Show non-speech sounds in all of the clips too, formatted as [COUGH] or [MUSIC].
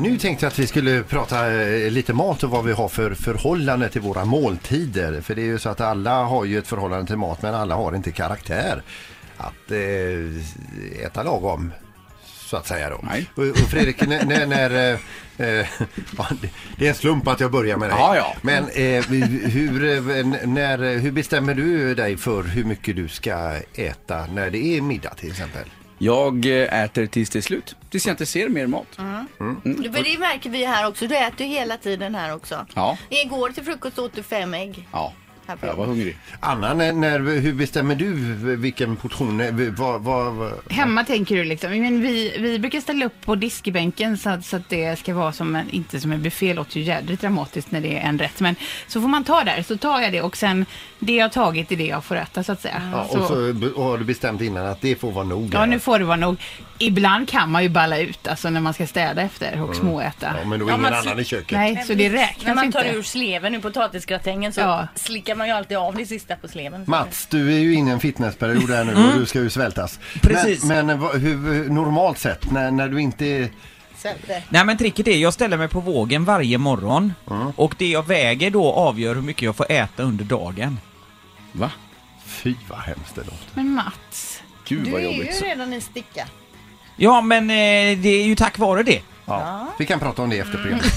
Nu tänkte jag att vi skulle prata eh, lite mat och vad vi har för förhållande till våra måltider. För det är ju så att alla har ju ett förhållande till mat men alla har inte karaktär att eh, äta lagom. Så att säga då. Nej. Och, och Fredrik, när, när, när, eh, eh, ja, det- det är en slump att jag börjar med dig. Ja, ja. Men eh, hur, eh, n- när, hur bestämmer du dig för hur mycket du ska äta när det är middag till exempel? Jag eh, äter tills det är slut. Tills jag inte ser mer mat. Mm. Mm. För det märker vi här också. Du äter ju hela tiden här också. Ja. Igår till frukost åt du fem ägg. Ja, Här på jag var jobbet. hungrig. Anna, när, när, hur bestämmer du vilken portion? eh, Vad, vad, vad, Hemma tänker du liksom, men vi, vi brukar ställa upp på diskbänken så att, så att det ska vara som en, inte som en buffé, låter ju jädrigt dramatiskt när det är en rätt. Men så får man ta där, så tar jag det och sen det jag har tagit är det jag får äta Mm, så att säga. ja, och så be- och har du bestämt innan att det får vara nog? ja, nu får det vara nog. Ibland kan man ju balla ut, alltså när man ska städa efter och småäta. Mm. Ja, men då är Ja, ingen man- annan i köket. Nej, så det räknas När man tar inte. ur sleven ur potatisgratängen så Ja. slickar man ju alltid av det sista på sleven. Mats, du är ju inne i en fitnessperiod här nu och du ska ju svältas. Precis. Men, men vad- hur, normalt sett, när, när du inte... eh, Nej men tricket är, jag ställer mig på vågen varje morgon och det jag väger då avgör hur mycket jag får äta under dagen. Va? Fy vad hemskt det låter. Men Mats, Gud Du vad är ju jobbigt. redan en sticka. Ja men eh, det är ju tack vare det. Ja. Vi kan prata om det efter programmet.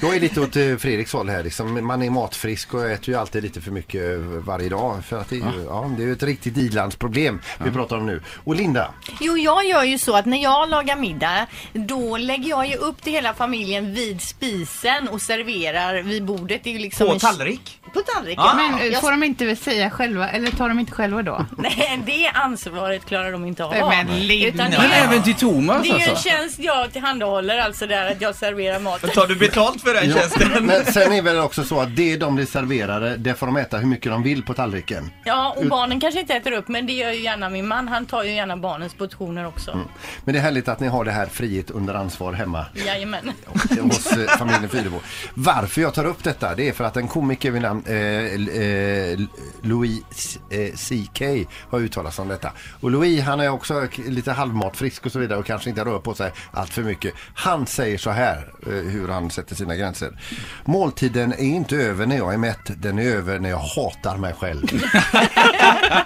Jag är lite åt eh, Fredriks håll här. Liksom, man är matfrisk och äter ju alltid lite för mycket eh, varje dag. För att det, är ju, ja, det är ju ett riktigt ilandsproblem vi pratar om nu. Och Linda, Jo, jag gör ju så att när jag lagar middag då lägger jag ju upp till hela familjen vid spisen och serverar vid bordet. Det är ju liksom På en- tallrik. På tallriken. Ah. Ah! Ja. men eh, jag... får de inte väl säga själva, eller tar de inte själva då? Nej, det ansvaret klarar de inte av. Men Linda. Utan det, Men är, även till Thomas det är ju en alltså. tjänst jag tillhandahåller, alltså där att jag serverar maten. Tar du betalt för den tjänsten? men sen är väl också så att det de blir serverade, det får de äta hur mycket de vill på tallriken. Ja, och barnen kanske inte äter upp, men det gör ju gärna min man. Han tar ju gärna barnens portioner också. Mm. Men det är härligt att ni har det här frihet under ansvar hemma. Jajamän. hos eh, familjen Fyrebo. Varför jag tar upp detta det är för att en komiker vid namn eh, L- eh, L- Louis eh, CK har uttalat sig om detta. Och Louis han är också k- lite halvmatfrisk och så vidare och kanske inte rör på sig allt för mycket. Han säger så här eh, hur han sätter sina gränser. Måltiden är inte över när jag är mätt, den är över när jag hatar mig själv.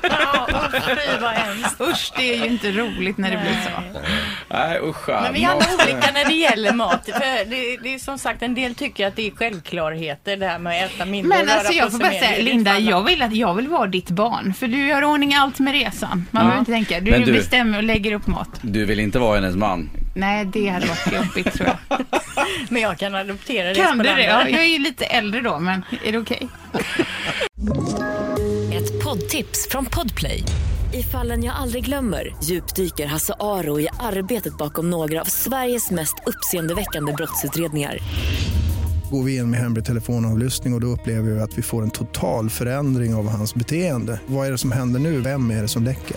Ja, och fy vad hemskt. Usch, det är ju inte roligt när det blir så. Nej usch. ja, Men vi är alla mat. olika när det gäller mat. För det, det är som sagt, en del tycker att det är självklarheter det här med att äta mindre och Men röra alltså på jag sig får bara mer. Det säga, är inte Linda, alla- jag vill, att, jag vill vara ditt barn. För du gör i ordning allt med resan. Man behöver inte tänka. Du, Men du- bestämmer och lägger upp mat. Du vill inte vara hennes man. Nej, det hade varit jobbigt tror [LAUGHS] jag. Men jag kan adoptera det. Kan du det? Ja, spännande. jag är ju lite äldre då, men är det okej? Ett poddtips från Podplay. I fallen jag aldrig glömmer djupdyker Hasse Aro i arbetet bakom några av Sveriges mest uppseendeväckande brottsutredningar. Går vi in med hemlig telefonavlyssning och, och då upplever vi att vi får en total förändring av hans beteende. Vad är det som händer nu? Vem är det som läcker?